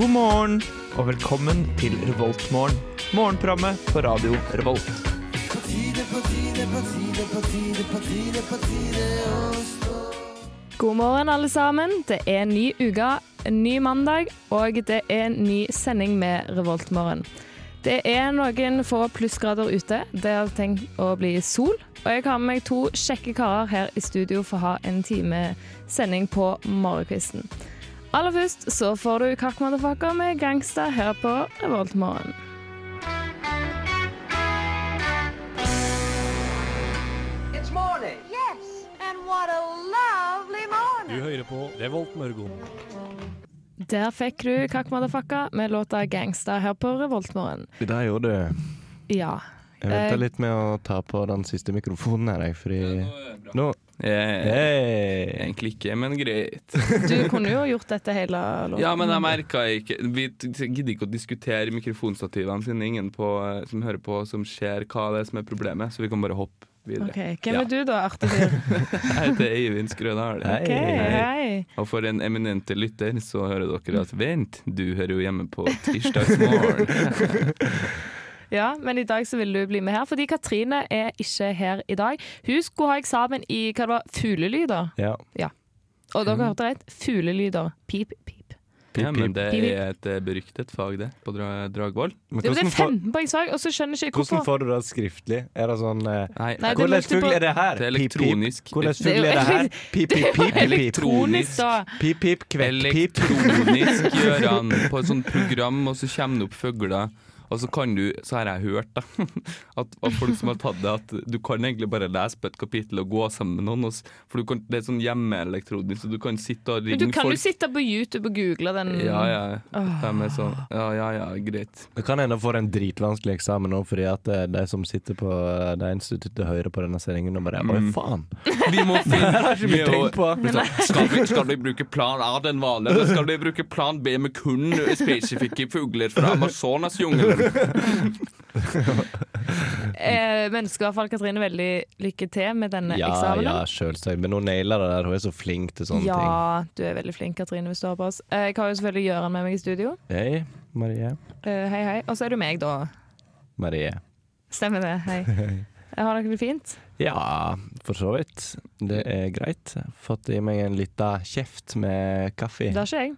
God morgen og velkommen til Revoltmorgen. Morgenprogrammet på radio Revolt. God morgen, alle sammen. Det er en ny uke, en ny mandag, og det er en ny sending med Revoltmorgen. Det er noen få plussgrader ute. Det har tenkt å bli sol. Og jeg har med meg to kjekke karer her i studio for å ha en time sending på morgenkvisten. Aller først så får du Kakk Motherfucker med Gangsta her på Revoltmorgen. It's morning. Yes, and what a lovely morning. Du hører på Revolt Mørgon. Der fikk du Kakk Motherfucker med låta Gangsta her på Revoltmorgen. Det der gjorde du. Ja. Jeg venta Eh, litt med å ta på den siste mikrofonen her, jeg, fordi Nå Eh, Hei! Egentlig ikke, men greit. Du kunne jo gjort dette hele låten. Ja, men jeg merka ikke Vi t- t- gidder ikke å diskutere mikrofonstativene sine. Ingen på, eh, som hører på, som ser hva det er som er problemet, så vi kan bare hoppe videre. Ok, Hvem Ja. er du da, artig fyr? Jeg heter Eivind Skrødal. Hei. Ok, hei. Og for en eminente lytter så hører dere at vent, du hører jo hjemme på tirsdagsmorgen. Ja, men i dag så ville du bli med her, fordi Katrine er ikke her i dag. Hun skulle ha eksamen i hva det var, fuglelyder. Ja. Og dere hørte rett, fuglelyder. Pip, pip. Ja, men det pip. er et eh, beryktet fag, det, på dra Dragvoll. Men Det er hvordan, får, 15 poengs fag, og så skjønner jeg ikke hvordan hvorfor. får du det skriftlig? Er det sånn eh, Nei, Nei, det er Hvordan multiple- fugl er det her? Det er Pip, pip. elektronisk. Det Hvordan er fugl jo er det her? elekt- Pip, pip, pip, pip, pip. Elektronisk, da. Pip, pip, kvekk, pip. elektronisk gjør han på et sånt program, og så kommer det opp fugler. Og så kan du, så har jeg hørt da, at av folk som har tatt det, at du kan egentlig bare lese på et kapittel og gå sammen med noen. og s- For du kan, det er sånn hjemmeelektronisk, så du kan sitte og Men ringe du kan jo folk. sitte på YouTube og google den. ja, ja. De er sånn, ja, ja, ja, greit. Det kan hende jeg får en dritvanskelig eksamen nå, fordi at eh, de som sitter på eh, det instituttet hører på denne sendingen og bare Oi, Mm. faen! Vi må finne Vi vi må- tenker på Men så, Skal vi, skal vi bruke plan A den vanlige, eller skal vi bruke plan B med kun spesifikke fugler fra Amazonasjungelen? Eh, men skal i hvert fall Katrine veldig lykke til med denne Ja, eksamen. ja, sjølsagt. Men hun nailer det der. Hun er så flink til sånne ja, du er veldig flink, Katrine, hvis du hører på oss. Eh, Jeg har jo selvfølgelig Gøran med meg i studio. ting. Hei, Marie. Eh, hei, hei. Og så er du meg, da. Marie. Stemmer det. Hei. Jeg har dere det fint? Ja, for så vidt. Det er greit. Fått i meg en lita kjeft med kaffe. Det har ikke jeg.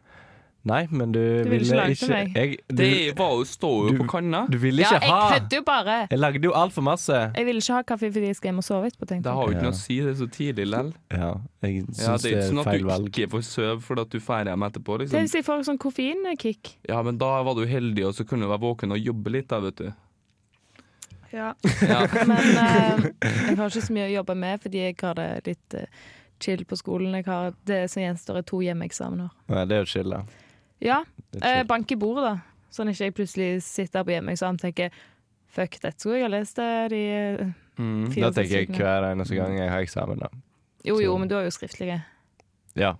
Nei, men du, Du ville ville ikke lage til ikke meg. jeg, du, Det var jo stå jo Du- på kanna. du ville Ja, ikke jeg ha kødder jo bare. Jeg lagde jo altfor masse. Jeg vil ikke ha kaffe fordi jeg skal hjem og sove etterpå. tenkte Det jeg. har jo Ja. ikke noe å si, det er så tidlig lell. Ja, jeg syns Ja, det det er jo ikke er sånn at feil du valg. ikke får sove fordi at du drar hjem etterpå, Det er liksom. hvis jeg får sånn koffeinkick. Ja, men da var du heldig, og så kunne du være våken og jobbe litt, da, vet du. Ja. Ja. Men eh, jeg har ikke så mye å jobbe med fordi jeg har det litt eh, chill på skolen. Jeg har det som gjenstår, er to hjemmeeksamener. Nei, det er jo chill, da. Ja, Det eh, er chill. bank i bordet, da. Sånn at ikke jeg plutselig sitter her på hjemmeeksamen og tenker fuck, dette skulle jeg ha lest det de eh, Mm. fire Da tenker jeg siste ukene. hver eneste gang jeg har eksamen, da. Jo jo, men du har jo skriftlige. Ja.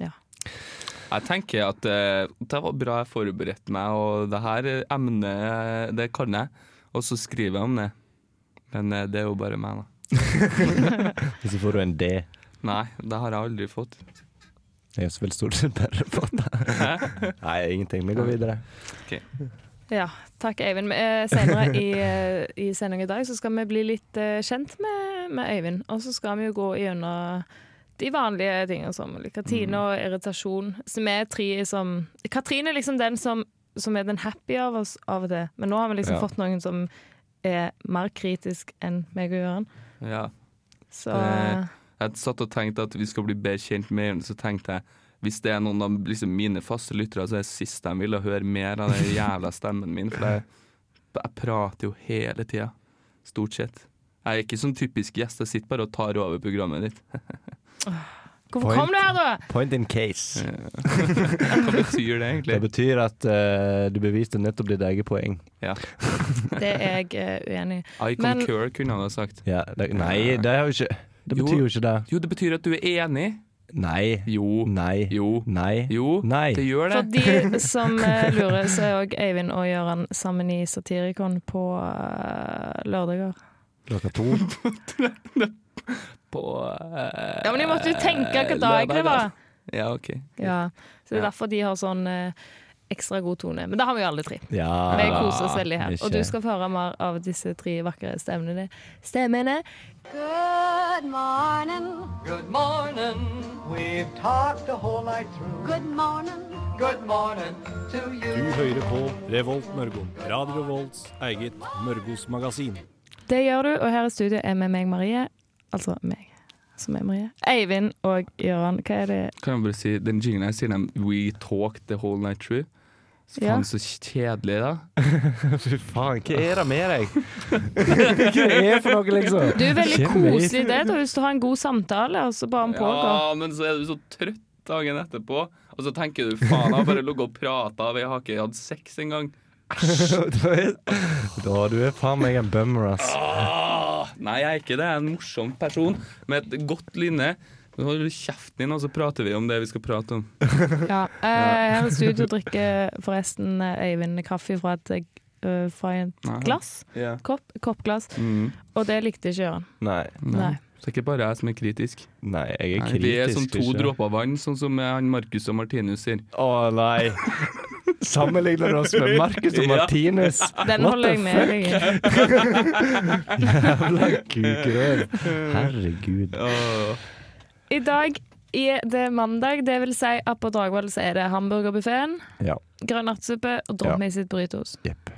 Jeg tenker at eh, det var bra jeg forberedte meg, og det her emnet, eh, det kan jeg. Og så skriver jeg om det. Men eh, det er jo bare meg, da. Og så får du en D. Nei, det har jeg aldri fått. Jeg har vel stort sett bare fått det. Nei, ingenting. Vi går videre. Ja, takk Eivind. Men, eh, Senere i, eh, i sendingen i dag så skal vi bli litt eh, kjent med, med Eivind. Og så skal vi jo gå gjennom de vanlige tingene som Mm. Katrine og irritasjon. Som er tre som Katrine er liksom den som, som er den happy av oss av og til. Men nå har vi liksom Ja. fått noen som er mer kritisk enn meg og Gøran. Ja. Så Det- Jeg satt og tenkte at vi skal bli bedre kjent med Jørn, så tenkte jeg hvis det er noen av liksom, mine faste lyttere, så er det siste de vil høre mer av den jævla stemmen min. For jeg, jeg prater jo hele tida. Stort sett. Jeg er ikke sånn typisk gjest, jeg sitter bare og tar over programmet ditt. Hvorfor point. kom du her, da?! Point in case. Hva betyr det Det egentlig? betyr at eh, du beviste nettopp ditt eget poeng. Det er jeg eh, uenig i. I Men- concur, kunne han ha sagt. Ja, det, nei, det er jo ikke Det Jo. betyr jo ikke det. Jo, det betyr at du er enig. Nei. Jo. Nei. Jo. Nei. Jo. Nei. Det gjør For det. de som eh, lurer, så er òg Eivind og Gøran sammen i Satirikon på eh, lørdager. Klokka to. På eh, Ja, men jeg måtte jo tenke hvilken dag det lørdag, da. var. Ja, OK. Ja. Så det er derfor de har sånn eh, ekstra god tone. Men det har vi jo alle tre. Ja. Ah, Vi koser oss veldig her. Og ikke. du skal få høre mer av disse tre vakre stemmene. Stemmene. Good morning. Good morning. We've talked the whole night through. Good morning. Good morning to you. Du hører på Revolt Mørgon. Radio Revolts eget Mørgos magasin. Det gjør du, og her i studio er med meg Marie. Altså meg, som er Marie. Eivind og Gøran. Hva er det Kan jeg bare si, Den jinglen her sier dem We talked the whole night through. Så Ja. Faen, så kjedelig, da. Fy faen, hva er det med deg? hva er det for noe, liksom? Du er veldig Kjem i- koselig i det. Du har lyst til å ha en god samtale, og så bare han pågår. Ja, men så er du så trøtt dagen etterpå. Og så tenker du faen, jeg har bare ligget og prata, jeg har ikke hatt sex engang. Da er- Da, du er faen meg en bummer, ass. Ah, nei, jeg er ikke det. Jeg er en morsom person med et godt lynne. Nå holder du kjeften din, og så prater vi om det vi skal prate om. Ja. Eh, her i studio drikker forresten eh, Eivind kaffe fra et, eh, fra et Nei. glass. Kopp, koppglass. Mm. Og det likte ikke Gøran. Nei, Nei. Så det er ikke bare jeg som er kritisk. nei, jeg er Nei, kritisk. vi er som to ikke? dråper vann, sånn som eh, han Markus og Martinus sier. Å nei. Sammenligner du oss med Marcus og Ja. Martinus? Den What holder the jeg med deg i. Jævla kukerør. Herregud. I dag er det mandag, det vil si at på Dragvoll så er det hamburgerbuffeen, Ja. grønn ertesuppe og drømme i sitt burritos. Jepp.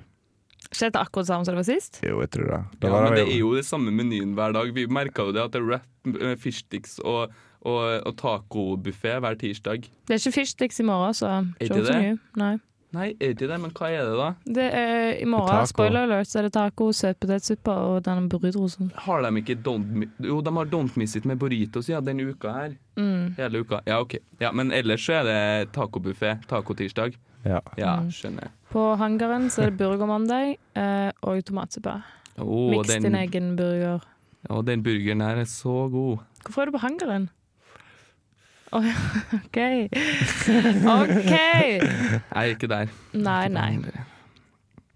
Skjedde akkurat samme som det var sist. Jo, jeg tror det. Da Ja, var men det det er jo det samme menyen hver dag. Vi merka jo det at det er wrap, eh, fishsticks og, og, og tacobuffé hver tirsdag. Det er ikke fishsticks i morgen, så Er ikke det så det? mye. Nei. Nei, er ikke det, men hva er det, da? Det er, I Det er morgen, taco. spoiler alert, så er det taco, søtpotetsuppe og denne burritosen. Har de ikke don't, Mi- Jo, de har Don't Miss It med burritos ja, denne uka her. Mm. Hele uka. Ja, OK. Ja, men ellers så er det tacobuffé. Tacotirsdag. Ja. Ja, Mm. skjønner jeg. På hangaren så er det burgermandag eh, og tomatsuppe. Å, Miks den, din egen burger. å, den burgeren her er så god. Hvorfor er du på hangaren? Å ja, OK. OK! Jeg er ikke der. Nei, nei.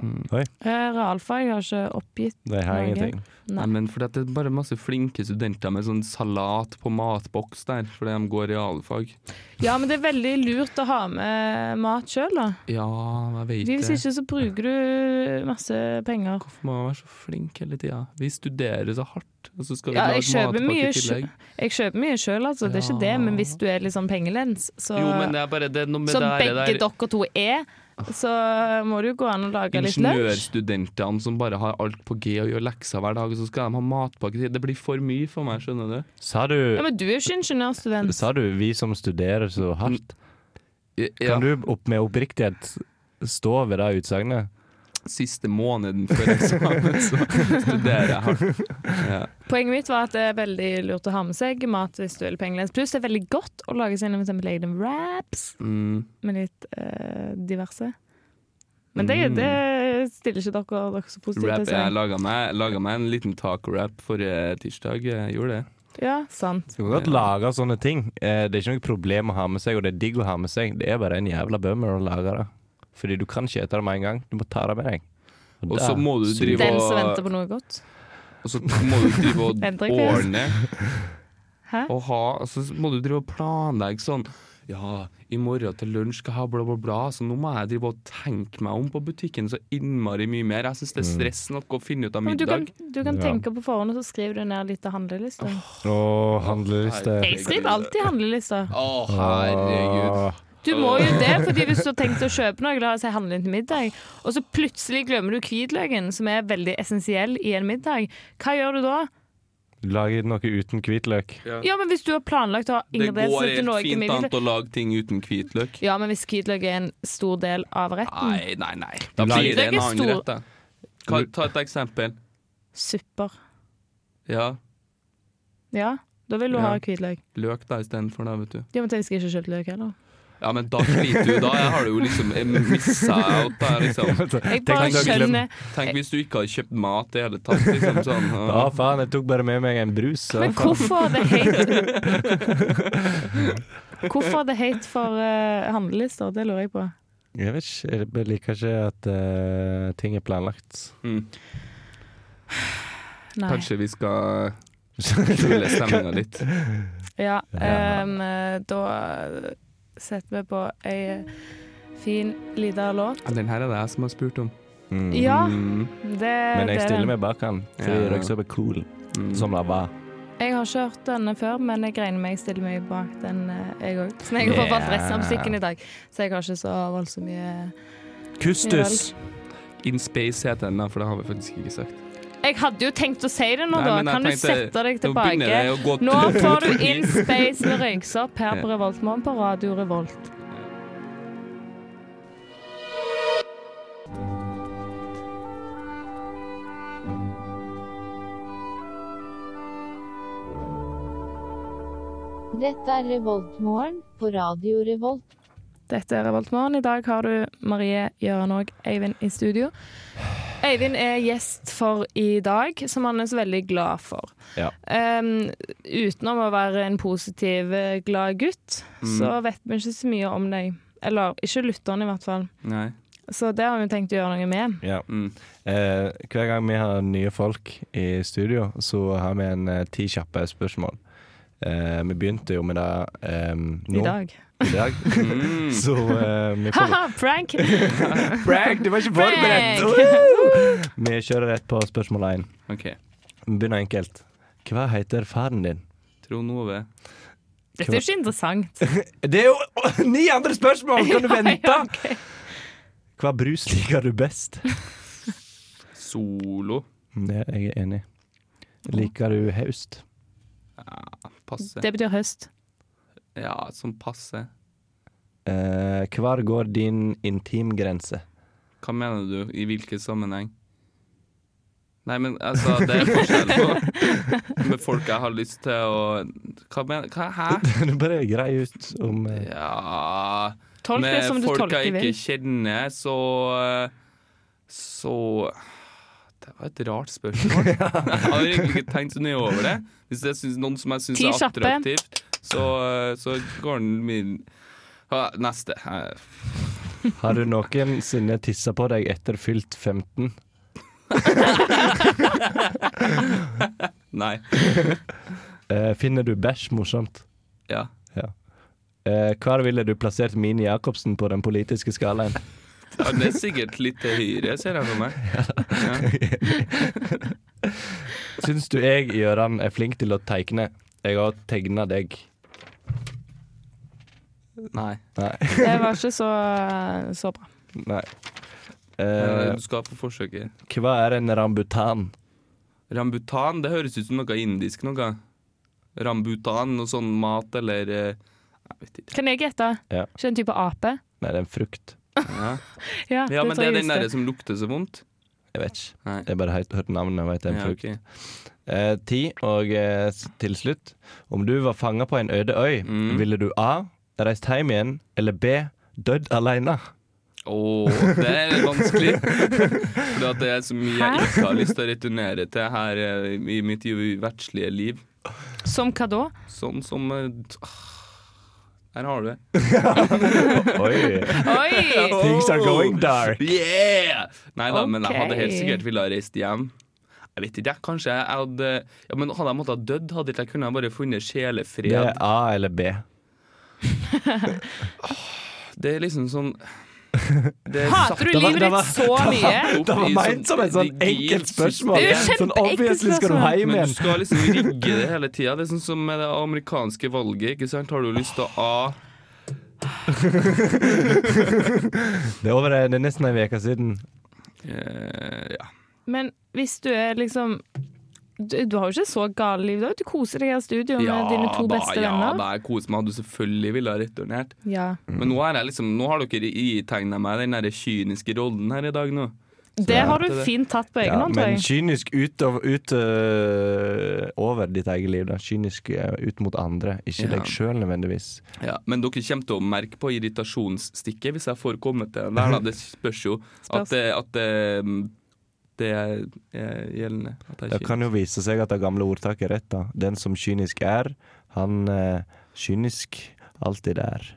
Oi. Eh, Realfag har ikke oppgitt Det har jeg Norge. ingenting. Nei, Nei. men fordi at det er bare masse flinke studenter med sånn salat på matboks der, fordi de går realfag. Ja, men det er veldig lurt å ha med mat sjøl, da. Ja, jeg vet Fordi Hvis det. ikke så bruker du masse penger. Hvorfor må man være så flink hele tida? Vi studerer så hardt, og så skal vi Ja, jeg lage kjøper mye matpakke i sj- tillegg. Jeg kjøper mye sjøl, altså, det er ikke det, Ja. men hvis du er litt sånn pengelens, så, Jo, men det er bare det er noe med som det her- Sånn begge det er dere to er, så må det jo gå an å lage litt lunsj. Ingeniørstudentene som bare har alt på G og gjør lekser hver dag, og så skal de ha matpakke til Det blir for mye for meg, skjønner du? Sa Ja, du, men du er jo ikke ingeniørstudent. sa du vi som studerer så hardt? Ja, Kan du opp med oppriktighet stå ved det utsagnet? Siste måneden før eksamen, så studerer jeg hardt. Ja. Poenget mitt var at det er veldig lurt å ha med seg mat hvis du er litt pengelens. Pluss det er veldig godt å lage sine for eksempel egne wraps. Mm. med litt eh, diverse. Men det, Mm. det stiller ikke dere, dere så positivt Rap, til. jeg seg. laga meg, laget meg en liten taco-rap forrige tirsdag. Jeg gjorde det. Ja, sant. Du kan godt lage sånne ting. Eh, Det er ikke noe problem å ha med seg, og det er digg å ha med seg. Det er bare en jævla bummer å lage det. Fordi du kan ikke ete det med en gang. Du må ta det med deg. Og da så må du suger drive Den som og venter på noe godt. Og så må du drive og Vent, Rikke. ordne Hæ? og ha Og så må du drive og planlegge sånn Ja, i morgen til lunsj skal jeg ha bla, bla, bla. Så nå må jeg drive og tenke meg om på butikken så innmari mye mer. Jeg syns det er stress nok å finne ut av Ja, Men du kan, middag. du kan Ja. tenke på forhånd, og så skriver du ned litt av handlelista. Å, handleliste. Jeg skriver alltid handlelista. Å, herregud. Åh. Du må jo det, fordi hvis du har tenkt å kjøpe noe, la oss si handle inn til middag, og så plutselig glemmer du hvitløken, som er veldig essensiell i en middag, hva gjør du da? Lage noe uten hvitløk. Ja, men hvis du har planlagt å ha Det går ingredienser til helt noe fint middag an å lage ting uten hvitløk. Ja, men hvis hvitløk er en stor del av retten, Nei, nei, nei. Da Lager- blir det en Hvitløk er annen stor. rett, da. Hva- Ta et eksempel. supper. Ja, Ja, da vil du Ja. ha hvitløk. løk da istedenfor, da, vet du. Ja, men jeg skal ikke kjøpe løk heller. Ja, men da sliter du. Da har du jo liksom missa out, da, liksom. Jeg Tenk bare om du har glemt- skjønner Tenk hvis du ikke hadde kjøpt mat i hele tatt. Liksom, sånn, Ja, ja. faen, jeg tok bare med meg en brus. så Men faen. hvorfor the hate Hvorfor the hate for eh, handlelister? Det lurer jeg på. Jeg vet ikke, jeg bare liker ikke at eh, ting er planlagt. mm. Nei. Kanskje vi skal skjule stemninga litt. Ja, ehm, Ja. em, eh, da setter vi på ei Fin, lita låt. Ja, den her er det jeg som har spurt om. Mm. Ja, Mm, det, Men det jeg er stiller den. meg bak han, fordi Ja, ja. dere er så cool mm. som det var. Jeg har ikke hørt denne før, men jeg regner med jeg stiller meg bak den, eh, jeg òg. Men jeg har bare fått resten av musikken i dag, så jeg har ikke så voldsomt mye Kustus! In Space heter den, da, for det har vi faktisk ikke sagt. Jeg hadde jo tenkt å si det nå, Nei, da. men jeg Kan du tenkte- sette deg Nå begynner tilbake? det å gå Nå tørt får du forbi. In Space med røyksopp her på Revoltmorgen på Radio Revolt. Dette er Revoltmorgen på Radio Revolt. Dette er Revoltmorgen. I dag har du Marie, Gøran og Eivind i studio. Eivind er gjest for i dag, som han er så veldig glad for. Ja. Ehm, utenom å være en positiv, eh, glad gutt, Mm. så vet vi ikke så mye om deg. Eller ikke lytteren, i hvert fall. Nei. Så det har vi tenkt å gjøre noe med. Ja. Mm. Eh, hver gang vi har nye folk i studio, så har vi en eh, ti kjappe spørsmål. Eh, vi begynte jo med det eh, nå. I dag. I dag. så eh, vi får Ha-ha, prank! Prank! Du var ikke Prank! forberedt! Woo! vi kjører rett på spørsmål én. OK. Vi begynner enkelt. Hva heter faren din? Trond Ove. Dette er jo ikke interessant. Det er jo ni andre spørsmål! Kan du vente? Ja, ok. Hva brus liker du best? Solo. Det er jeg enig i. Liker du haust? Passe. Det betyr høst. Ja, sånn passe. Eh, hvor går din intimgrense? Hva mener du? I hvilken sammenheng? Nei, men altså, det er forskjell på med folk jeg har lyst til å Hva mener hva, Hæ? Du bare grei ut om eh, Ja Tolk det som Med du folk tolker jeg vil. ikke kjenner, så eh, Så Det var et rart spørsmål. Jeg har egentlig ikke tenkt så nøye over det. Hvis det er noen som jeg syns Ti er kjappe. attraktivt, så, eh, så går den min Ja, Neste. Eh, Har du noensinne tissa på deg etter fylt 15? Nei. Eh, finner du bæsj morsomt? Ja. Eh, hvor ville du plassert Mini Jacobsen på den politiske skalaen? Ja, det er sikkert litt til høyre, ser jeg for meg. Syns du jeg, Gøran, er flink til å tegne? Jeg har tegna deg. Nei. Nei. Det var ikke så, så bra. Nei. Eh, du skal på forsøket. hva er en rambutan? Rambutan, det høres ut som noe indisk noe. Rambutan, noe sånn mat eller eh, Jeg vet ikke. Kan jeg gjette? Ja. Ikke en type ape? Nei, det er en frukt. Ja, Ja, ja men tror det er jeg den visste. derre som lukter så vondt. Jeg vet ikke. Nei. Jeg bare har hørt navnet og vet det er en Ja, frukt. ok. Eh, ti, og eh, s- til slutt. Om du var fanga på en øde øy, Mm. ville du A. Reist hjem igjen, eller B. Dødd aleine? Åh, det er vanskelig. For at det er så mye jeg ikke har lyst til å returnere til her eh, i mitt verdslige liv. Som hva da? Sånn som eh, Her har du det. Oi! Oi! Things are going dark. Yeah! Nei da, men jeg hadde helt Ok. sikkert ville ha reist hjem. Jeg vet ikke, jeg, kanskje jeg hadde ja, men Hadde jeg måttet ha dødd, hadde ikke jeg kunnet bare funnet sjelefred. Det er A eller B. Det er liksom sånn det er satt Hater du Det var- livet det var- ditt så mye? opp Det var i ment som et sånn rigid enkelt spørsmål. Det er jo system, Sånn kjempeekkelt obviously skal du spørsmål. hjem Men igjen. du skal liksom rigge det hele tida. Det er sånn som med det amerikanske valget. Ikke sant? Har du lyst til å A Det er, over, det er nesten ei uke siden. eh, Ja. Men hvis du er liksom du, du har jo ikke så gale liv, da. Du koser deg i studio med dine to beste da, ja, venner. da er kos meg. Hadde du selvfølgelig ville ha returnert. Ja. Men nå, er jeg liksom, nå har dere itegna meg den der kyniske rollen her i dag nå. Det har det- du fint tatt på egen Ja, hånd, tror men jeg. kynisk ut, av, ut øh, over ditt eget liv. Da. Kynisk øh, ut mot andre, ikke Ja. deg sjøl nødvendigvis. Ja, men dere kommer til å merke på irritasjonsstikket hvis jeg får komme til det. her, da. Det spørs jo at det, at det, det er eh, gjeldende. At jeg er Det kan jo vise seg at det gamle ordtaket er rett. da Den som kynisk er, han øh, kynisk eh, alltid er.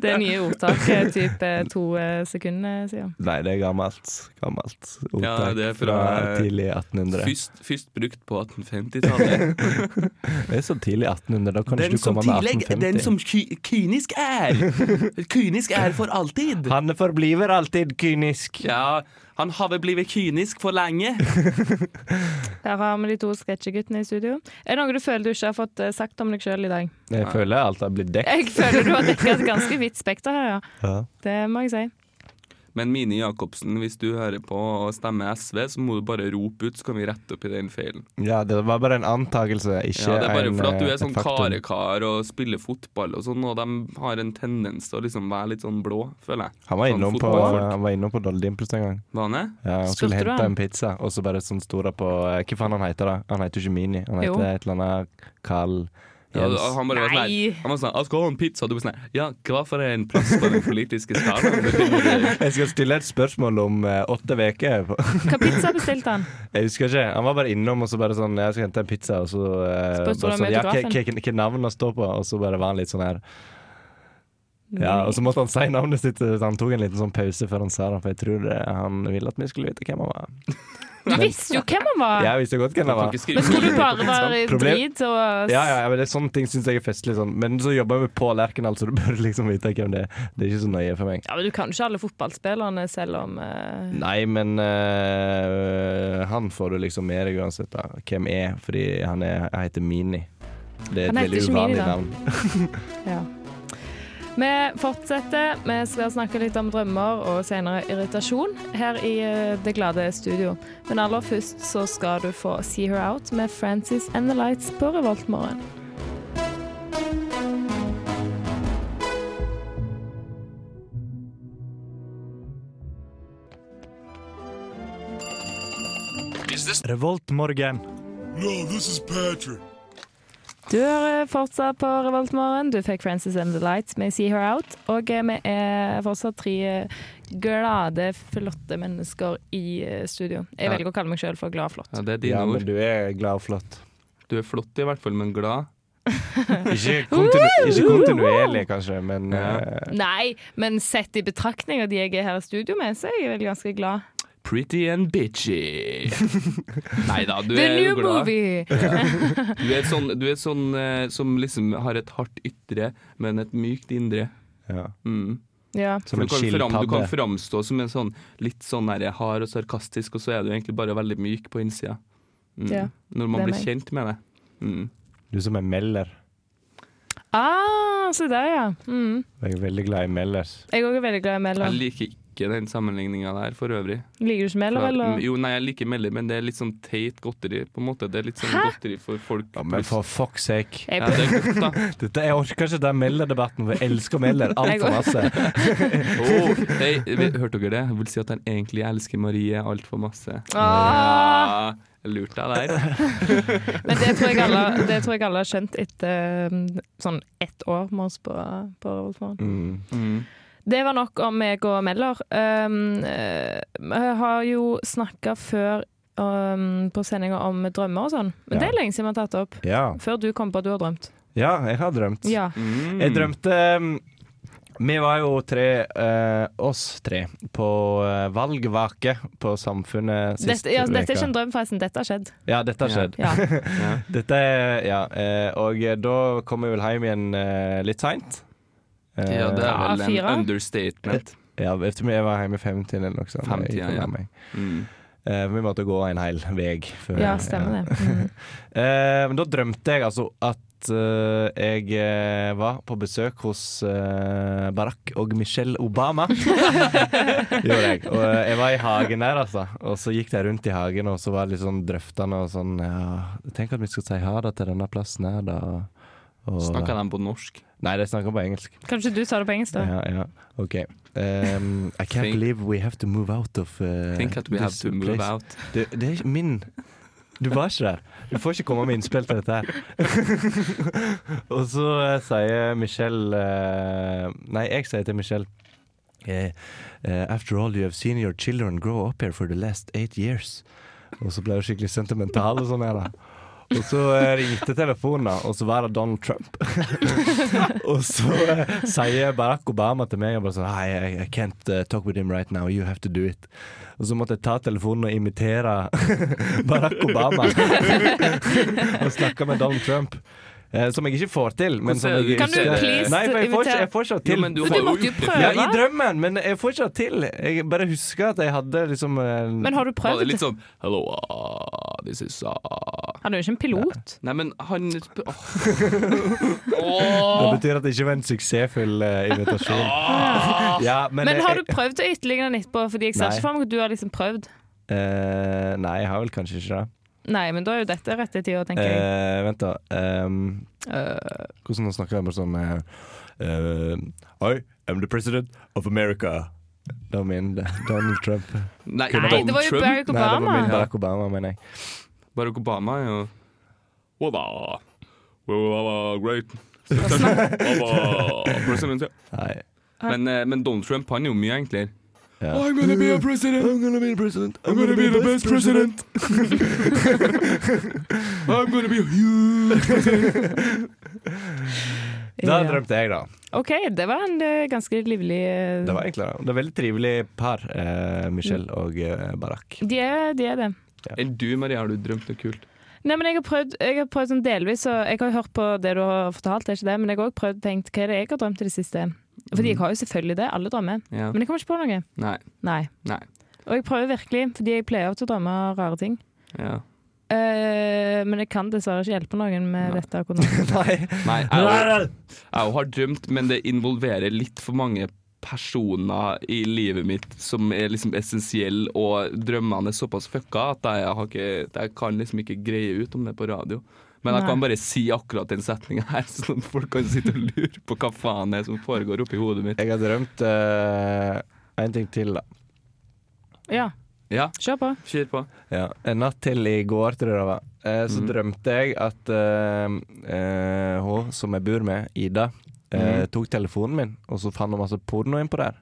Det nye ordtaket type to eh, sekunder siden. Nei, det er gammelt. Gammelt Ja, det er ordtak fra, fra- eh, tidlig 1800. Først, først brukt på 1850-tallet. Det er så tidlig 1800, da kan ikke Den du som komme med tillegg, den 1850. som ky kynisk er. Kynisk er for alltid. Han forbliver alltid kynisk. Ja, han har blitt kynisk for lenge. Her har vi de to sketsjeguttene i studio. Er det noe du føler du ikke har fått eh, sagt om deg sjøl i dag? Jeg føler alt har blitt dekket. Jeg føler du har dekka et ganske vidt spekter her, ja. Ja. Det må jeg si. Men Mini Jacobsen, hvis du hører på og stemmer SV, så må du bare rope ut, så kan vi rette opp i den feilen. Ja, det var bare en antakelse, ikke Ja, det er bare en, fordi at du eh, er sånn et faktum. karekar og spiller fotball og sånn, og de har en tendens til å liksom være litt sånn blå, føler jeg. Han var Sånn innom på, fotballfolk. han var innom på Dolly Dimples en gang. Var han det? Ja, han Spurte skulle du hente han? en pizza, og så bare sånn store på eh, Hva faen han heter da? Han heter jo ikke Mini. Han Jo. heter et eller annet Carl Ja, Jens. han bare var sånn Nei. her- Han var sånn 'Jeg skal ha en pizza.' Og du bare sånn her, 'Ja, hva for en plass på den politiske skalaen?' Jeg skal stille et spørsmål om eh, åtte uker. Hva pizza bestilte han? Jeg husker ikke. Han var bare innom og så bare sånn Jeg skal hente en pizza, og så eh, Spurte bare du om sånn, ja, hva- autografen? hva- hva- Hva navn han står på, og så bare var han litt sånn her Ja, og så måtte han si navnet sitt. Så han tok en liten sånn pause før han sa det, for jeg tror det, han ville at vi skulle vite hvem han var. Du visste jo hvem han var! Jeg visste godt hvem han Kan var. ikke skrive Men skulle du navnet bare på pizzaen. være Problem- drit og Ja, ja, ja, men det er sånne ting syns jeg er festlig. Sånn. Men så jobber jeg med Pål Erkendal, så du bør liksom vite hvem det er. Det er ikke så nøye for meg. Ja, men Du kan jo ikke alle fotballspillerne, selv om eh, Nei, men øh, han får du liksom med deg uansett da. hvem er, fordi han er, jeg heter Mini. Det er Han heter et veldig ikke Mini, uvanlig da. navn. Ja. Vi fortsetter. Vi skal snakke litt om drømmer og senere irritasjon her i eh, Det glade studio. Men aller først så skal du få See Her Out med Frances and the Lights på Revoltmorgen. Revoltmorgen. Du hører fortsatt på Revoltmorgen. Du fikk Frances and the Lights med See Her Out. Og eh, vi er fortsatt tre eh, glade, flotte mennesker i eh, studio. Jeg Ja. velger å kalle meg sjøl for glad flott. Ja, det er dine Ja, men ord. du er glad og flott. Du er flott i hvert fall, men glad. Ikke, kontinu ikke kontinuerlig, kanskje, men Ja. øh, Nei, men sett i betraktning av de jeg er her i studio med, så er jeg vel ganske glad. Pretty and bitchy. Nei da, du The er new jo glad. movie! Du er sånn, du er sånn eh, som liksom har et hardt ytre, men et mykt indre. ja. Mm. Ja. Som du, en kan fram, du kan skilpadde. framstå som en sånn litt sånn der hard og sarkastisk, og så er du egentlig bare veldig myk på innsida. Mm. Ja, Når det man er blir meg. kjent med det. Mm. Du som er melder. Ah, se der, ja. Mm. Jeg er veldig glad i Mellers. Jeg er også veldig glad i Mellor. Jeg liker ikke den sammenligninga der for øvrig. Liker du ikke Mellor, For at- eller? jo, nei, jeg liker Meller, men det er litt sånn teit godteri, på en måte. Det er litt sånn godteri for folk. Ja, men for fuck's sake. Jeg, ja, det er godt, da. Dette, jeg orker ikke den melderdebatten, for jeg elsker melder altfor masse. Oh, hei, vi- hørte dere det? Jeg vil si at han egentlig elsker Marie altfor masse. ah, Ja, jeg lurte deg der. men det tror, jeg alle, det tror jeg alle har skjønt etter um, sånn ett år med oss på, på Revoltmorgen. Mm. Det var nok om meg og Mellor. Um, eh, jeg har jo snakka før um, på sendinga om drømmer og sånn, men Ja. det er lenge siden vi har tatt opp. Ja. Før du kom på at du har drømt. ja, jeg har drømt. Ja. Mm. Jeg drømte um, Vi var jo tre, eh, oss tre, på eh, valgvake på Samfunnet sist Dette, ja, dette er veka. ikke en drøm, forresten. Dette har skjedd. Ja, dette har skjedd. Ja. Ja. Dette er, ja, eh, og da kom jeg vel hjem igjen eh, litt seint. Ja, det er vel A4? en understatement. ja, vet du, jeg var hjemme i femtiden eller noe sånt. Femtiden, Jeg kom ja. hjem, jeg. Mm. Eh, vi måtte gå en hel vei. før- ja, stemmer det. Mm. Eh, Men da drømte jeg altså at eh, jeg eh, var på besøk hos eh, Barack og Michelle Obama. Gjorde jeg. Og eh, jeg var i hagen der, altså. Og så gikk de rundt i hagen, og så var det litt sånn drøftende og sånn ja, Tenk at vi skal si ha det til denne plassen her, da. Og, Snakka de på norsk? Nei, de snakker på engelsk. Kanskje du sa det på engelsk, da? Ja, ja. OK. Um, I can't Think- believe we have to move out of Eh, uh, Think that we have this to move place. out. Du, det er ikke min Du var ikke der. Du får ikke komme med innspill til dette her. og så eh, sier Michelle eh, Nei, jeg sier til Michelle eh, eh, After all, you have seen your children grow up here for the last eight years. Og så ble hun skikkelig sentimental og sånn her, da. Og så eh, ringte telefonen, da, og så var det Donald Trump. og så eh, sier Barack Obama til meg og bare sånn Hei, I, I can't eh, talk with him right now. You have to do it. Og så måtte jeg ta telefonen og imitere Barack Obama. og snakke med Donald Trump. Eh, som jeg ikke får til. Men Hvordan som er jeg det du ikke- Kan du please Nei, for jeg får ikke, imitere- jeg får ikke Jo, til. men du Men har du jo måtte jo gjort det prøve. ja, før. I drømmen, men jeg får ikke til. Jeg bare husker at jeg hadde liksom en- Men har du Var prøvd det litt det? sånn Hello, ah, this is ah. Han er jo ikke en pilot. Nei, men han Åh, Det betyr at det ikke var en suksessfull eh, invitasjon. Ja, men, Men jeg- har du prøvd å ytterligere den etterpå? Fordi jeg ser Nei. ikke for meg at du har liksom prøvd. Eh, nei, jeg har vel kanskje ikke det. Nei, men da er jo dette rette tida, tenker jeg. Eh, vent, da. Ehm, Eh. hvordan snakker jeg bare sånn eh, eh, I am the president of America. Det var min det- Donald Trump. Nei, Nei, det var jo Barack Nei, det var Obama. min Barack Obama, mener jeg. Barack Obama er jo Well, da. Well, da, da, great. Da, da, president, ja. Nei. Men, eh, men Donald Trump han er jo mye enklere. Ja. I'm gonna be a president. I'm gonna be the president. I'm gonna be the best president. I'm gonna be huge. Da Ja. drømte jeg, da. OK, det var en eh, ganske livlig eh, Det var egentlig det. Det er veldig trivelig par, eh, Michelle og eh, Barack. de er, de er det. Enn du, Maria, har du drømt noe kult? Nei, men jeg har prøvd, jeg har prøvd sånn delvis, og jeg har hørt på det du har fortalt, det er ikke det, men jeg har også prøvd å tenke hva er det jeg har drømt i det siste. Fordi jeg har jo selvfølgelig det, alle drømmer. Ja. Men jeg kommer ikke på noe. Nei. Nei. Nei. Og jeg prøver virkelig, fordi jeg pleier alltid å drømme rare ting. Ja. Eh, men jeg kan dessverre ikke hjelpe noen med Nei. dette akkurat nå. Nei. Nei, jeg har- jeg har drømt, men det involverer litt for mange personer i livet mitt som er liksom essensielle, og drømmene er såpass fucka at jeg, har ikke, jeg kan liksom ikke greie ut om det på radio. Men jeg Nei. kan bare si akkurat den setninga her, sånn at folk kan sitte og lure på hva faen det er som foregår oppi hodet mitt. Jeg har drømt eh, en ting til, da. Ja, Ja, kjør på. kjør på. Ja. En natt til i går, tror jeg det var, eh, så Mhm. drømte jeg at eh, eh, hun som jeg bor med, Ida, eh, tok telefonen min, og så fant hun masse porno innpå der.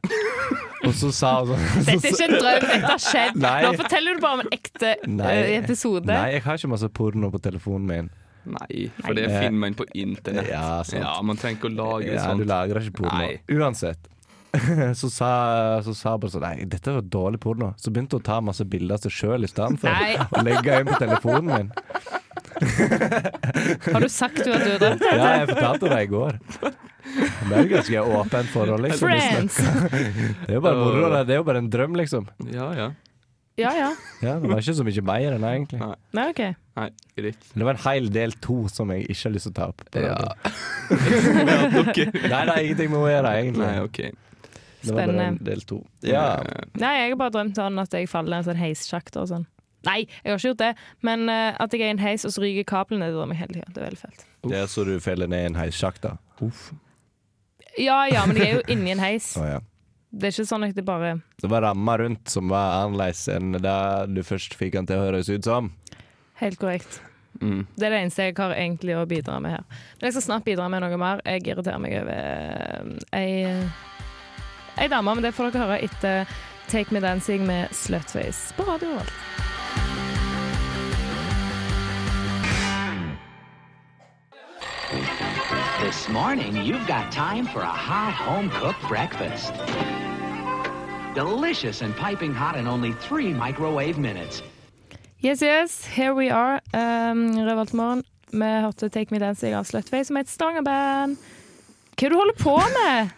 og så sa hun sånn Dette er ikke en drøm, dette har skjedd. Nei. Nå forteller du bare om en ekte eh, Nei. episode. Nei, jeg har ikke masse porno på telefonen min. Nei, for det Nei. finner man på internett. Ja, sant. Ja, Man trenger ikke å lage Ja, du sånt. lagrer ikke porno. Nei. Uansett. så sa så sa hun bare sånn Nei, dette var dårlig porno. Så begynte hun å ta masse bilder av seg sjøl i stedet for. Nei. Og legge inn på telefonen min. Har du sagt du at du har drømt? Ja, jeg fortalte det i går. Men Det er jo ganske åpent forhold, liksom. Friends! Det er jo bare moro. det. Det er jo bare en drøm, liksom. Ja, ja. Ja, ja. Ja, det var ikke så mye mer enn det, egentlig. Nei, OK. Nei, greit. Det var en hel del to som jeg ikke har lyst til å ta opp. på Ja. radio. Ok. Nei, det er ingenting med å gjøre, egentlig. Nei, OK. Eh, Det var bare en Spennende. del to. Ja. Nei, jeg har bare drømt sånn at jeg faller i en sånn heissjakt og sånn. Nei, jeg har ikke gjort det, men eh, at jeg er i en heis og så ryker kablene, det drømmer jeg hele tida. Det er veldig fælt. Det er så du feller ned i en heissjakk, da. Ja ja, men jeg er jo inni en heis. Å, ja. Det er ikke sånn at det bare Det var ramma rundt som var annerledes enn det du først fikk han til å høres ut som. Helt korrekt. Mm. Det er det eneste jeg har egentlig å bidra med her. Men jeg skal snart bidra med noe mer. Jeg irriterer meg over eh, ei, eh, ei dame, men det får dere høre etter Take Me Dancing med Slutface på Radio Revolt. This morning, you've got time for a hot home cooked breakfast. Delicious and piping hot in only three microwave minutes. Yes, yes, here we are. Um, Revoltmorgen. Vi hørte Take Me Dancing av Slutface, som er et Stavanger-band. Hva er det du holder på med?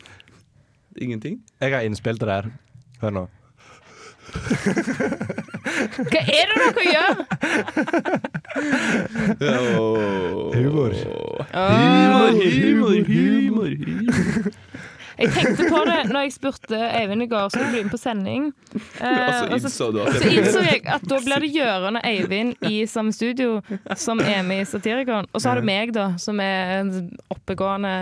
Ingenting? Jeg har innspilt det der. Hør nå. Hva er det dere gjør? Humor. Ah. Humor, humor, humor. Jeg tenkte på det når jeg spurte Eivind i går, skulle bli med på sending. Eh, Altså, og så innså du at Så innså jeg at da blir det Gjøran og Eivind i samme studio som er med i Satirikon. Og så har du meg, da, som er en oppegående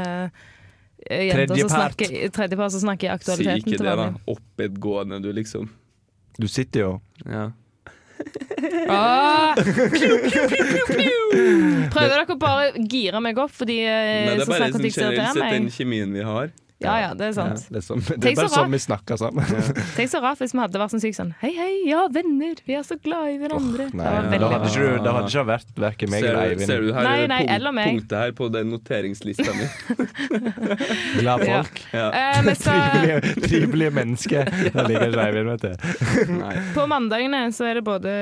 eh, jente som Tredjepart. snakker, tredjepart som snakker i Si aktualiteten ikke til det, da. vanlig. Oppedgående, du, liksom. Du sitter jo Ja. Ah! Prøver dere bare å gire meg opp, fordi eh, Nei, det er så bare snart at sånn jeg ikke generelt sett irriterer den meg? kjemien vi har. Ja ja, det er Ja, sant. det er, sånn, det Tenk er bare så rart. sånn vi snakker sammen. Tenk så rart hvis vi hadde vært sånn sykt sånn Hei, hei, ja, venner, vi er så glad i hverandre. det Nei, var da veldig hadde ikke du da hadde ikke vært verken meg eller Ser, ser Eivind du her Nei, er det nei, punkt, eller meg. punktet her på den noteringslista mi? glad Ja. folk. Eh, vi skal, Trivelige, trivelige mennesker. Da liker ikke Eivind, vet du. på mandagene så er det både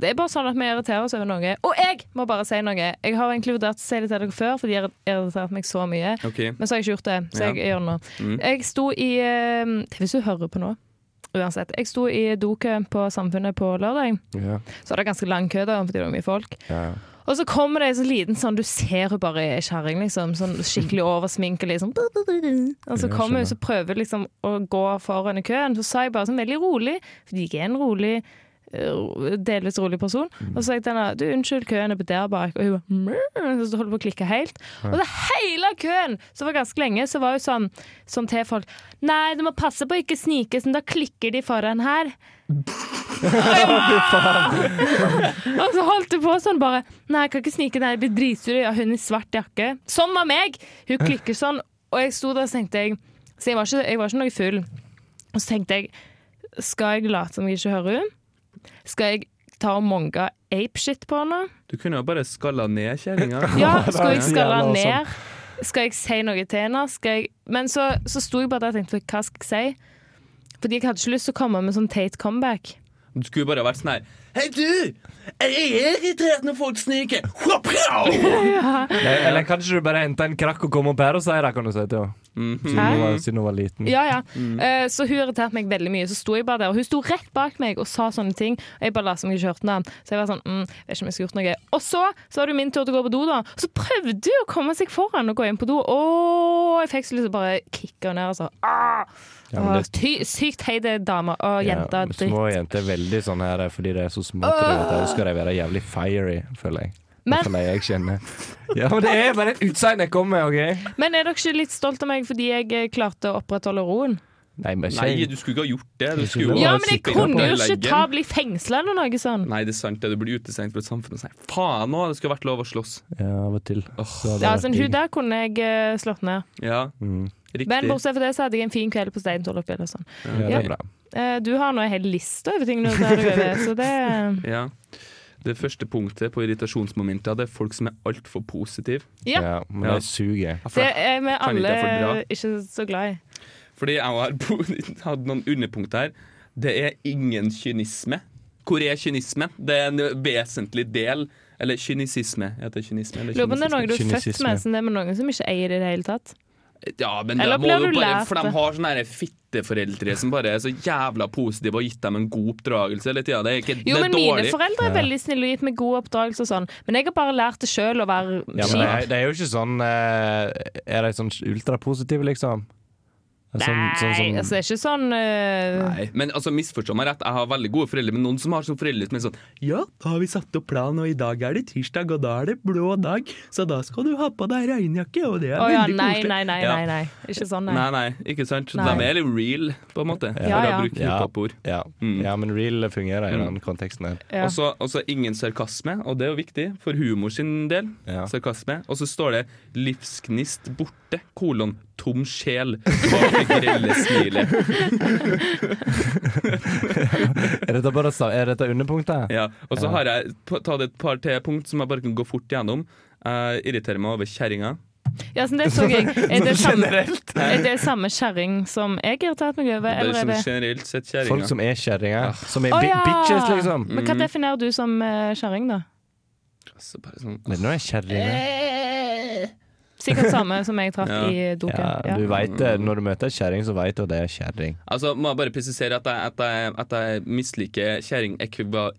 Det er bare sånn at vi irriterer oss over noe. Og jeg må bare si noe! Jeg har egentlig vurdert å si det til dere før, for de har irritert meg så mye. Ok, Mm. Men så har jeg ikke gjort det, så Ja. jeg gjør det nå. Mm. Jeg sto i eh, Hvis du hører på nå, uansett. Jeg sto i dokø på Samfunnet på lørdag. Ja. Så var det ganske lang kø der, fordi det var mye folk. Ja. Og så kommer det en sånn liten sånn, du ser hun bare er kjerring, liksom. Sånn skikkelig oversminket, liksom. Og så Ja, kommer skjønner. hun så prøver liksom å gå foran i køen. Så sa jeg bare sånn veldig rolig, fordi jeg er en rolig eh, delvis rolig person. Og så sa jeg til henne du, unnskyld, køen er på der bak. Og hun bare «Mrr», så holdt hun på å klikke helt. Og det hele køen, som var ganske lenge, så var hun sånn, sånn til folk Nei, du må passe på å ikke snike, sånn, da klikker de foran her. Og så holdt hun på sånn bare Nei, jeg kan ikke snike der, jeg blir dritsur. Ja, hun i svart jakke. Sånn var meg! Hun klikker sånn. Og jeg sto der og så tenkte jeg Så jeg var ikke, jeg var ikke noe full. Og så tenkte jeg Skal jeg late som jeg ikke hører henne? Skal jeg ta og monge apeshit på henne? Du kunne jo bare skalla ned kjerringa. Ja, skal jeg så skalle jævla ned? Skal jeg si noe til henne? Skal jeg... Men så, så sto jeg bare der og tenkte hva skal jeg si? Fordi jeg hadde ikke lyst til å komme med sånn teit comeback. Du skulle bare vært sånn her Hei, du! Jeg er irritert når folk sniker! Hoppa! Eller kanskje du bare henter en krakk og kommer og bærer seg, da, kan du si til henne. Mhm. Siden hun var- Siden hun var liten. Ja, ja. Mm. Eh, så hun irriterte meg veldig mye. Så sto jeg bare der, og hun sto rett bak meg og sa sånne ting. Og jeg bare la som jeg ikke hørte henne. Så jeg var sånn mm, vet ikke om jeg skulle gjort noe. Og så så var det jo min tur til å gå på do, da. Og så prøvde hun å komme seg foran og gå inn på do. Å, jeg fikk så lyst til å bare kicke henne ned, altså. Ah! Ja, men det- Å, ty, sykt heide dame og jente. Ja, dritt. små jenter er veldig sånn her fordi de er så små. til det, Da skal de være jævlig fiery, føler jeg. Men- Men, jeg kjenner. Ja, men det er bare et utsagn jeg kommer med, OK? Men er dere ikke litt stolt av meg fordi jeg eh, klarte å opprettholde roen? Nei, men Nei, ikke du skulle ikke ha gjort det. Du skulle jo Ja, ha men jeg sittet kunne jo på ikke leggen. ta bli fengsla eller noe sånt. Nei, det er sant. det Du blir utestengt fra et samfunn og sier faen nå, det skulle vært lov å slåss. Ja, av og til. Så hadde Ja, det altså, vært hun der kunne jeg eh, slått ned. Ja, Mm. riktig. Men bortsett fra det så hadde jeg en fin kveld på Steintorp. eller sånn. digg. Ja, det er bra. Eh, Du har nå en hel liste over ting du tar deg over, så det eh, Ja. Det første punktet på irritasjonsmomenter det er folk som er altfor positive. Ja. Ja, men Ja. det suger. Ja, for Det jeg- er vi Kan ikke alle jeg fordra? ikke så glad i. Fordi jeg har bo- hadde noen underpunkter her. Det er ingen kynisme. Hvor er kynismen? Det er en vesentlig del. Eller kynisisme. Heter det kynisme? Eller Lurer på om det er noe du er født Kynisisme. med, som det er med noen som ikke eier det i det hele tatt. Ja, men Eller da må ble du du bare, lært for de det? har sånne her fitteforeldre som bare er så jævla positive og har gitt dem en god oppdragelse hele tida. Det er ikke Jo, det er men mine dårlig. foreldre er veldig snille og gitt meg god oppdragelse og sånn, men jeg har bare lært det sjøl å være Ja, men det kjip. er, det er jo ikke sånn eh, Er de sånn ultrapositive, liksom? Sånn, sånn Nei, som- altså det er ikke sånn eh, Nei, men altså, misforstå meg rett, jeg har veldig gode foreldre, men noen som har sånne foreldre som er sånn Ja, da har vi satt opp planen, og i dag er det tirsdag, og da er det blå dag, så da skal du ha på deg regnjakke, og det er Å ja, veldig nei, koselig. nei, nei, Ja. nei, nei. Ikke sånn, nei. Nei, nei, ikke sant? Nei. De er litt real, på en måte, Ja, for å ja. bruke Ja. hiphop-ord. ja. Mm. ja, men real fungerer i den konteksten her. Ja. Og så og så ingen sarkasme, og det er jo viktig for humor sin del. Ja. Sarkasme. Og så står det 'livsgnist borte', kolon 'tom sjel' bak det grelle smilet. Er dette, bare, sa- er dette underpunktet? Ja. Og så har jeg p- tatt et par til punkt som jeg bare kan gå fort gjennom. Jeg irriterer meg over kjerringa. Ja, så det så jeg. Er det samme, er det samme kjerring som jeg har irritert meg over, Bare eller er sånn det generelt sett Folk kjerringa. som er kjerringer. Som er Å bi ja! bitches, liksom. Men Mm. hva definerer du som eh, kjerring, da? Altså, bare sånn, Men nå er kjerringer. Eh, Sikkert samme som jeg traff Ja. i doken. Ja, Ja. du vet det. Når du møter ei kjerring, så vet du at det er kjerring. Altså, må jeg bare presisere at jeg, at jeg, at jeg misliker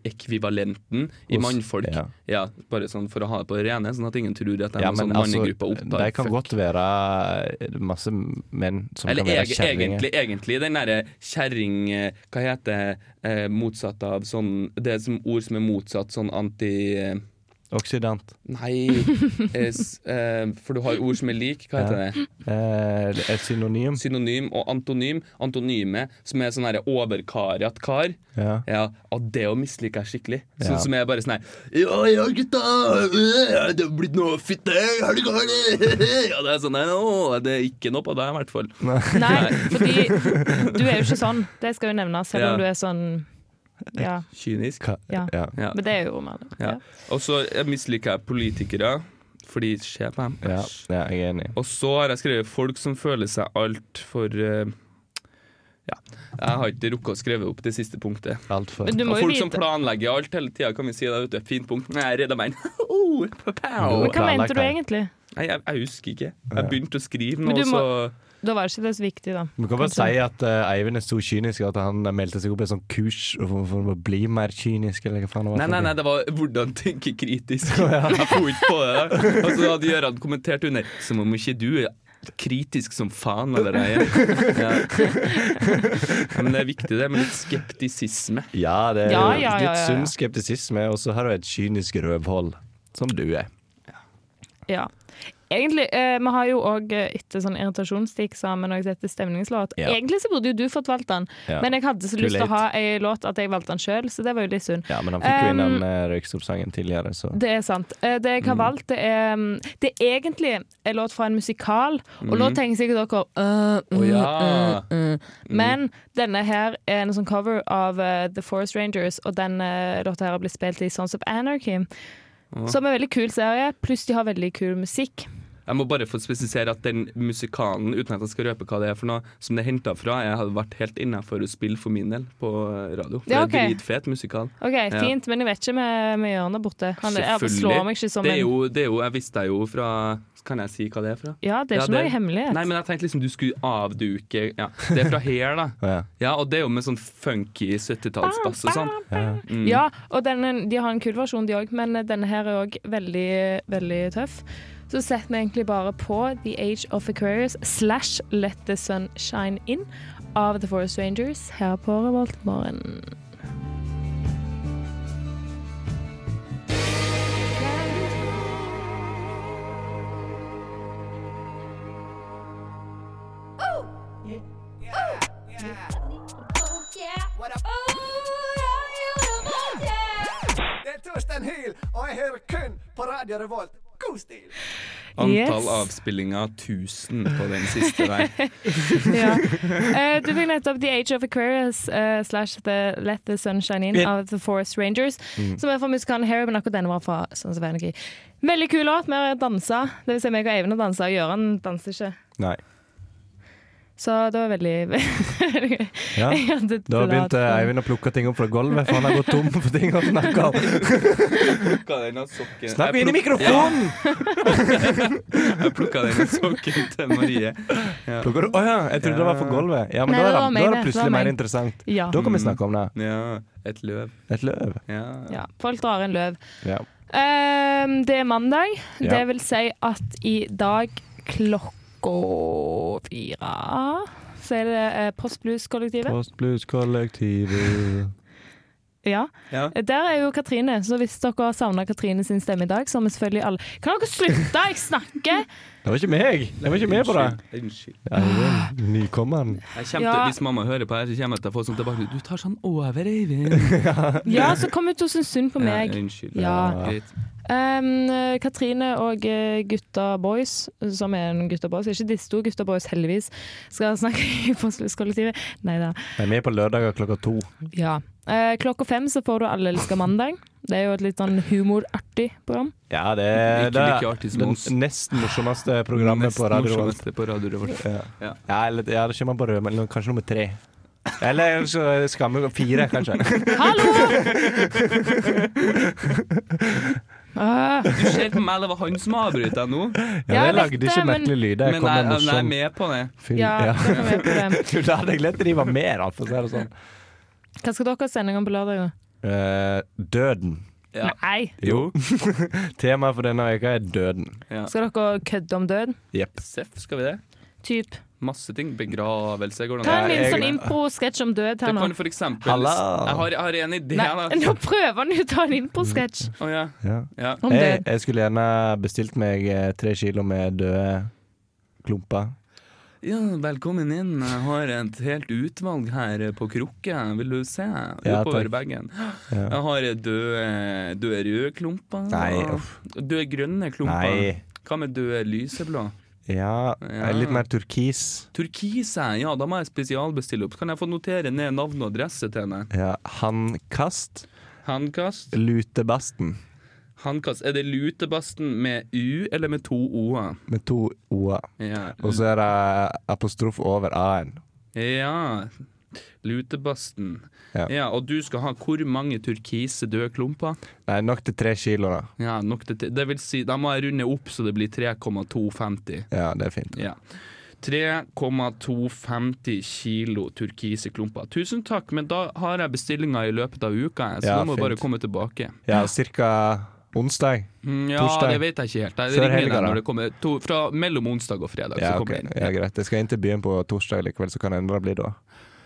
kjerringekvivalenten i Hos- mannfolk. Ja. ja. Bare sånn for å ha det på det rene, sånn at ingen tror at jeg er Ja, en men sånn altså, mannegruppa de opptar kan fuck. godt være masse menn som Eller kan være eg- kjerringer. egentlig, egentlig den derre kjerring eh, Hva heter det? Eh, motsatt av sånn Det er som ord som er motsatt sånn anti... eh, Oksidant. Nei eh, s- eh, For du har ord som er lik. Hva heter det? Eh, et synonym. Synonym og antonym. Antonyme, som er sånn her overkaret kar. Ja. Ja, og det å misliker jeg skikkelig. Ja. Sånn som jeg bare sånn her Ja, ja, gutta! øh, Det har blitt noe fitte! Har du galt? Ja, det er sånn her, «Å, Det er ikke noe på deg, i hvert fall. Nei, fordi du er jo ikke sånn. Det skal jo nevnes, selv Ja. om du er sånn Ja. Kynisk. Ka- ja. ja. Ja. Men det er jo romaner. Ja. Ja. Og så jeg misliker jeg politikere, fordi se på dem. Ja, ja, jeg er enig. Og så har jeg skrevet folk som føler seg altfor uh, Ja, jeg har ikke rukket å skrive opp det siste punktet. Altfor. Men du Og må jo folk som vite planlegger alt hele tida, kan vi si det, vet du. Fint punkt. Nei, jeg redda meg inn. Oh, pow. Men hva planlagt, mente du da. egentlig? Nei, jeg, jeg husker ikke. Jeg begynte å skrive nå, Men du og må- så Da var det ikke det så viktig, da. Vi kan bare Kanskje. si at eh, Eivind er så kynisk at han meldte seg opp i et sånt kurs for, for å bli mer kynisk. Eller hva faen det var Nei, for nei, noe. nei, det var 'hvordan tenke kritisk'. Jeg får ikke på det. der. Og så hadde Gøran kommentert under 'som om ikke du er kritisk som faen allerede'. Ja. Ja, men det er viktig, det, med litt skeptisisme. Ja, det er Ja, jo ja, ja, litt ja, ja. sunn skeptisisme, og så har du et kynisk røvhold. Som du er. Ja. Egentlig, eh, Vi har jo òg etter sånn irritasjonsstikk sammen og etter stemningslåt. Ja. Egentlig så burde jo du fått valgt den, Ja. men jeg hadde så Too lyst til å late. ha ei låt at jeg valgte den sjøl, så det var jo litt synd. Ja, men han fikk jo inn Um, den eh, røyksoppsangen tidligere, så Det er sant. Eh, Det jeg har valgt, det er, mm, det er egentlig en låt fra en musikal, og nå tenker sikkert dere øh, øh, Mm. Å ja. Mm. øh, øh. Men denne her er en sånn cover av eh, The Forest Rangers, og den eh, låta her har blitt spilt i Sons of Anarchy. Som er en veldig kul serie, pluss de har veldig kul musikk. Jeg må bare få spesifisere at den musikalen, uten at jeg skal røpe hva det er for noe, som det er henta fra, jeg hadde vært helt innafor å spille for min del på radio. For Ja, Det er ok. en dritfet musikal. OK, fint, men jeg vet ikke med, med hjørnet borte. Han jeg slår meg ikke som Det er en jo, det er jo, jeg visste det jo fra Kan jeg si hva det er fra? Ja, det er Ja, ikke noe hemmelighet. Nei, men jeg tenkte liksom du skulle avduke ja. Det er fra Hair, da. ja. Ja, og det er jo med sånn funky 70-tallsbass og sånn. Ja, og denne, de har en kul versjon, de òg, men denne her er òg veldig, veldig tøff. Så setter vi egentlig bare på The Age of Aquarius slash Let the Sun Shine In av The Forest Rangers her på Revoltmorgen. Det er Torstein Hyl, og jeg hører kun på Radio Revolt. God stil! Antall Yes. avspillinger 1000 på den siste der. Ja. Eh, du fikk nettopp The Age of Aquarius eh, slash the Let the Sun Shine In av The Forest Rangers, Mm. som er fra musikalen Harry, men akkurat denne var fra Sons of Energy. Veldig kul låt. Vi har dansa. Det vil si meg og Eivind har dansa, og Gøran danser ikke. Nei. Så det var veldig, veldig gøy. Ja. Jeg hadde Da begynte platen. Eivind å plukke ting opp fra gulvet, for han har gått tom for ting å snakke om. Plukka den av sokken Snakk inn i Jeg pluk- mikrofonen! Jeg plukka den av sokken til Marie. Plukker du- Å ja, jeg trodde det var for gulvet. Ja, men Nei, da det er var meg, det, da er det. det Det var plutselig mer meg. Mm. interessant. Ja. Da kan vi snakke om det. Ja, et løv. Et løv. Ja. ja. Folk drar en løv. Ja. Ehm, det er mandag. Ja. Det vil si at i dag klokka fire så er det eh, Postblues-kollektivet. Postblues-kollektivet. Ja. Ja. Der er jo Katrine, så hvis dere savner Katrine sin stemme i dag, så har vi selvfølgelig alle Kan dere slutte? Jeg snakker! Det var ikke meg! Jeg var ikke med på det. Unnskyld, Unnskyld. Eivind, nykommeren. Jeg kommer Ja. til, hvis mamma hører på her, så kommer jeg til å få sånn tilbake Du tar sånn over, Eivind. Ja, så kom ut og syns synd på Ja, meg. Unnskyld. Ja. Greit. Um, Katrine og eh, gutta boys, som er en gutta boys, ikke disse to gutta boys heldigvis, skal snakke i Postløskollektivet. Nei da. Jeg er med på lørdager klokka to. Ja. Eh, klokka fem så får du Alle elsker mandag. Det er jo et litt sånn humorartig program. Ja, det Ikke det like artig som oss. det nest morsomste programmet Nest på radio. Revolt. morsomste på Radio Revolt. Ja, eller, ja, det kommer på rød, men kanskje nummer tre. Eller så skammer vi fire, kanskje. Hallo! Ah, Du ser på meg, det var han som avbrøt deg nå. Ja, jeg jeg vet lagde ikke det, men- merkelige lyder. Jeg Men kom jeg, med jeg er morsom med på det. film. ja, Ja. da kan vi gjøre det. Du, da hadde jeg glemt at de var med, da, for å si det sånn. Hva skal dere sende i gang på lørdag? da? Eh, døden. Ja. Nei! Jo. Temaet for denne uka er døden. Skal dere kødde om død? Jepp. Seff, skal vi det? Typ Masse ting. Begravelse går det Ta an. en Ja, liten jeg- sånn impro-sketsj om død Det her nå. kan for eksempel Halla. Jeg har, jeg har en idé. Nei, da. nå prøver han jo å ta en impro-sketsj Å, ja. Ja. Ja. om Jeg, død. jeg skulle gjerne bestilt meg eh, tre kilo med døde klumper. ja, velkommen inn. Jeg har et helt utvalg her på krukke. Vil du se? Ja, Oppover takk. bagen. Ja. Jeg har døde, døde røde klumper. Nei, Døde grønne klumper. Nei. Hva med døde lyseblå? Ja, Ja. litt mer turkis. Turkise, ja, da må jeg spesialbestille opp. Kan jeg få notere ned navn og adresse til henne? Ja, Handkast. Handkast? Lutebasten. Handkast. Er det lutebasten med U eller med to O-er? Med to o-er. Ja. Og så er det apostrof over a-en. ja. Lutebasten. Ja. Ja. og du skal ha hvor mange turkise døde klumper? Nei, nok til tre kilo, da. Ja, nok til Det vil si, da må jeg runde opp så det blir 3,250. Ja, det er fint. Ja. 3,250 kilo turkise klumper. Tusen takk, men da har jeg bestillinga i løpet av uka, jeg, så Ja, nå må du bare fint. komme tilbake. Ja, cirka onsdag. Mm, Ja, Torsdag? det vet jeg ikke helt. Jeg Før ringer helga, deg da? når det kommer to, Fra mellom onsdag og fredag. Ja, så ok. kommer jeg ja, inn. greit. Jeg skal inn til byen på torsdag likevel, så kan det endre bli da.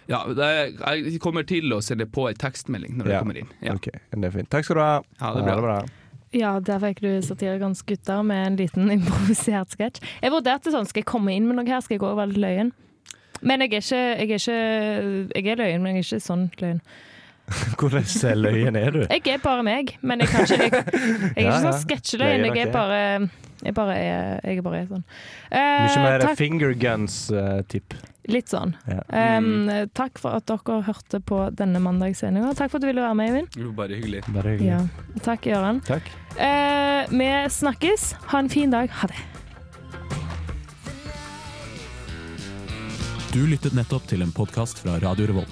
Ja, det- jeg kommer til å sende på en tekstmelding når Ja. det kommer inn. Ja. Ok, det er fint. Takk skal du ha. Ha det bra. Ja, der fikk du Satirikans gutter med en liten improvisert sketsj. Jeg vurderte sånn, skal jeg komme inn med noe her, skal jeg gå og være litt løyen? Men jeg er ikke, jeg er ikke Jeg er løyen, men jeg er ikke sånn løyen. Hvordan løyen er du? Jeg er bare meg, men jeg kan ikke Jeg, jeg er Ja, ikke ja. sånn sketsjeløyen, jeg er Løyen, ok. bare jeg bare er, jeg bare er sånn. Eh, Mye mer eh, takk, fingerguns-typ. litt sånn. Ja. Eh, takk for at dere hørte på denne mandagssendinga. Takk for at du ville være med, Eivind. Jo, bare hyggelig. Bare hyggelig. Ja. Takk, Gøran. Takk. Eh, vi snakkes. Ha en fin dag. Ha det. Du lyttet nettopp til en podkast fra Radio Revolt.